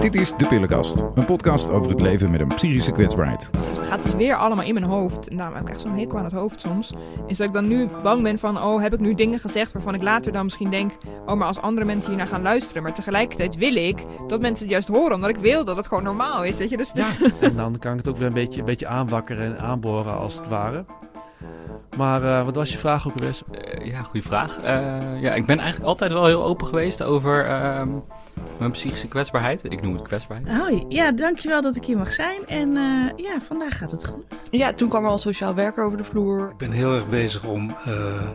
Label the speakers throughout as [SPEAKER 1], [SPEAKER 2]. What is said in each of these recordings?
[SPEAKER 1] Dit is De Pillenkast, een podcast over het leven met een psychische kwetsbaarheid.
[SPEAKER 2] Het gaat dus weer allemaal in mijn hoofd. En daarom heb ik echt zo'n hekel aan het hoofd soms. Is dat ik dan nu bang ben van, oh, heb ik nu dingen gezegd waarvan ik later dan misschien denk, oh, maar als andere mensen hiernaar gaan luisteren. Maar tegelijkertijd wil ik dat mensen het juist horen, omdat ik wil dat het gewoon normaal is, weet je. Dus het is-
[SPEAKER 3] En dan kan ik het ook weer een beetje, een beetje aanwakkeren en aanboren als het ware. Maar eh, wat was je vraag ook alweer?
[SPEAKER 4] Eh, ja, goede vraag. Eh, ja, ik ben eigenlijk altijd wel heel open geweest over ehm, mijn psychische kwetsbaarheid. Ik noem het kwetsbaarheid.
[SPEAKER 5] Hoi, ja, dankjewel dat ik hier mag zijn. En eh, ja, vandaag gaat het goed.
[SPEAKER 6] Ja, toen kwam er al sociaal werker over de vloer.
[SPEAKER 7] Ik ben heel erg bezig om eh,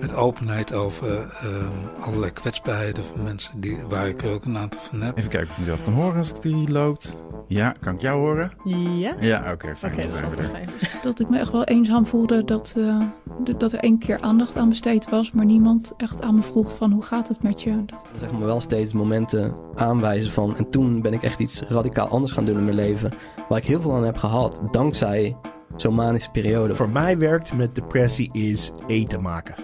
[SPEAKER 7] met openheid over eh, allerlei kwetsbaarheden van mensen die, waar ik er ook een aantal van heb.
[SPEAKER 1] Even kijken of ik mezelf kan horen als ik die loopt. Ja, kan ik jou horen?
[SPEAKER 5] Ja?
[SPEAKER 1] Ja, oké, fijn.
[SPEAKER 5] Oké,
[SPEAKER 1] dan
[SPEAKER 5] dat is
[SPEAKER 1] zijn we
[SPEAKER 5] altijd
[SPEAKER 1] er.
[SPEAKER 5] fijn.
[SPEAKER 8] dat ik me echt wel eenzaam voelde dat, eh, d- dat er één keer aandacht aan besteed was, maar niemand echt aan me vroeg van hoe gaat het met je. Dat-
[SPEAKER 9] zeg maar wel steeds momenten aanwijzen van. En toen ben ik echt iets radicaal anders gaan doen in mijn leven. Waar ik heel veel aan heb gehad. Dankzij zo'n manische periode.
[SPEAKER 10] Voor mij werkt met depressie is eten maken.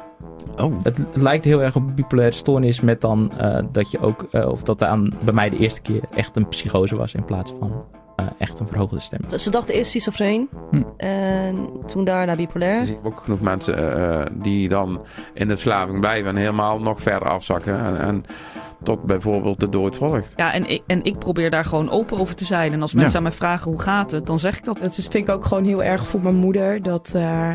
[SPEAKER 1] Oh,
[SPEAKER 11] Het lijkt heel erg op een bipolaire stoornis met dan eh, dat je ook, eh, of dat er aan, bij mij de eerste keer echt een psychose was in plaats van eh, echt een verhoogde stem.
[SPEAKER 6] Ze dachten eerst schizofreen.
[SPEAKER 1] Hm.
[SPEAKER 6] En toen daarna bipolair.
[SPEAKER 12] Er zien ook genoeg mensen eh, eh, die dan in de verslaving blijven en helemaal nog verder afzakken. En, en tot bijvoorbeeld de dood volgt.
[SPEAKER 13] Ja, en ik, en ik probeer daar gewoon open over te zijn. En als
[SPEAKER 1] Ja.
[SPEAKER 13] mensen aan mij vragen hoe gaat het, dan zeg ik dat.
[SPEAKER 14] Dat is, vind ik ook gewoon heel erg voor mijn moeder. Dat, eh,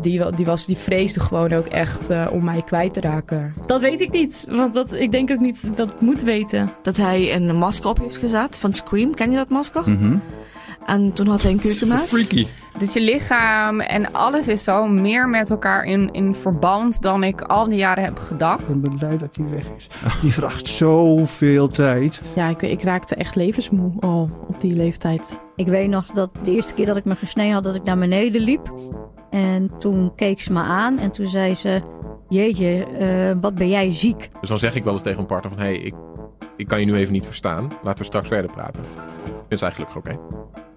[SPEAKER 14] die, wa- die, was, die vreesde gewoon ook echt eh, om mij kwijt te raken.
[SPEAKER 15] Dat weet ik niet, want dat, ik denk ook niet dat ik dat moet weten.
[SPEAKER 16] dat hij een masker op heeft gezet van Scream. Ken je dat masker? En toen had hij een keukenmes.
[SPEAKER 1] Mhm. freaky.
[SPEAKER 15] Dus je lichaam en alles is zo meer met elkaar in, in verband dan ik al die jaren heb gedacht.
[SPEAKER 17] Ik ben blij dat die weg is. Die vraagt zoveel tijd.
[SPEAKER 5] Ja, ik, ik raakte echt levensmoe al op die leeftijd.
[SPEAKER 18] Ik weet nog dat de eerste keer dat ik me gesneden had, dat ik naar beneden liep. En toen keek ze me aan en toen zei ze: Jeetje, eh, wat ben jij ziek?
[SPEAKER 19] Dus dan zeg ik wel eens tegen mijn partner van... hé, hey, ik, ik kan je nu even niet verstaan. Laten we straks verder praten. Dat is eigenlijk oké.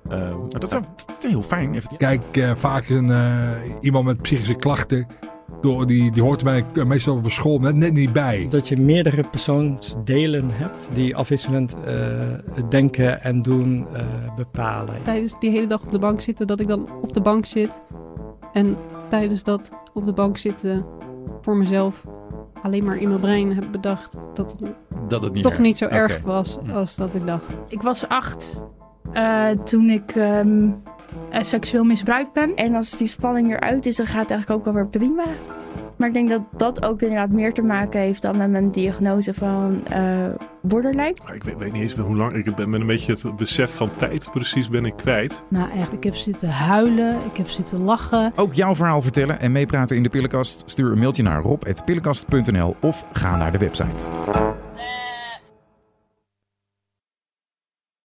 [SPEAKER 19] Ehm,
[SPEAKER 1] dat is, dat is heel fijn. Even
[SPEAKER 20] Kijk, eh, vaak is een, eh, iemand met psychische klachten, door, die, die hoort bij, eh, meestal op een school net, net niet bij.
[SPEAKER 4] Dat je meerdere persoonsdelen hebt die afwisselend eh, denken en doen eh, bepalen.
[SPEAKER 6] tijdens die hele dag op de bank zitten, dat ik dan op de bank zit. En tijdens dat op de bank zitten voor mezelf alleen maar in mijn brein heb bedacht dat het
[SPEAKER 1] Dat het niet
[SPEAKER 6] toch
[SPEAKER 1] erg-
[SPEAKER 6] niet zo
[SPEAKER 1] Oké.
[SPEAKER 6] erg was als dat ik dacht.
[SPEAKER 21] Ik was acht eh, toen ik ehm, eh, seksueel misbruikt ben. En als die spanning eruit is, dan gaat het eigenlijk ook wel weer prima. Maar ik denk dat dat ook inderdaad meer te maken heeft dan met mijn diagnose van eh, borderline.
[SPEAKER 22] Maar ik weet, weet niet eens meer hoe lang. Ik ben ben een beetje het besef van tijd precies ben ik kwijt.
[SPEAKER 23] Nou echt, ik heb zitten huilen, ik heb zitten lachen.
[SPEAKER 1] Ook jouw verhaal vertellen en meepraten in De Pillenkast? Stuur een mailtje naar rob.pillenkast.nl of ga naar de website.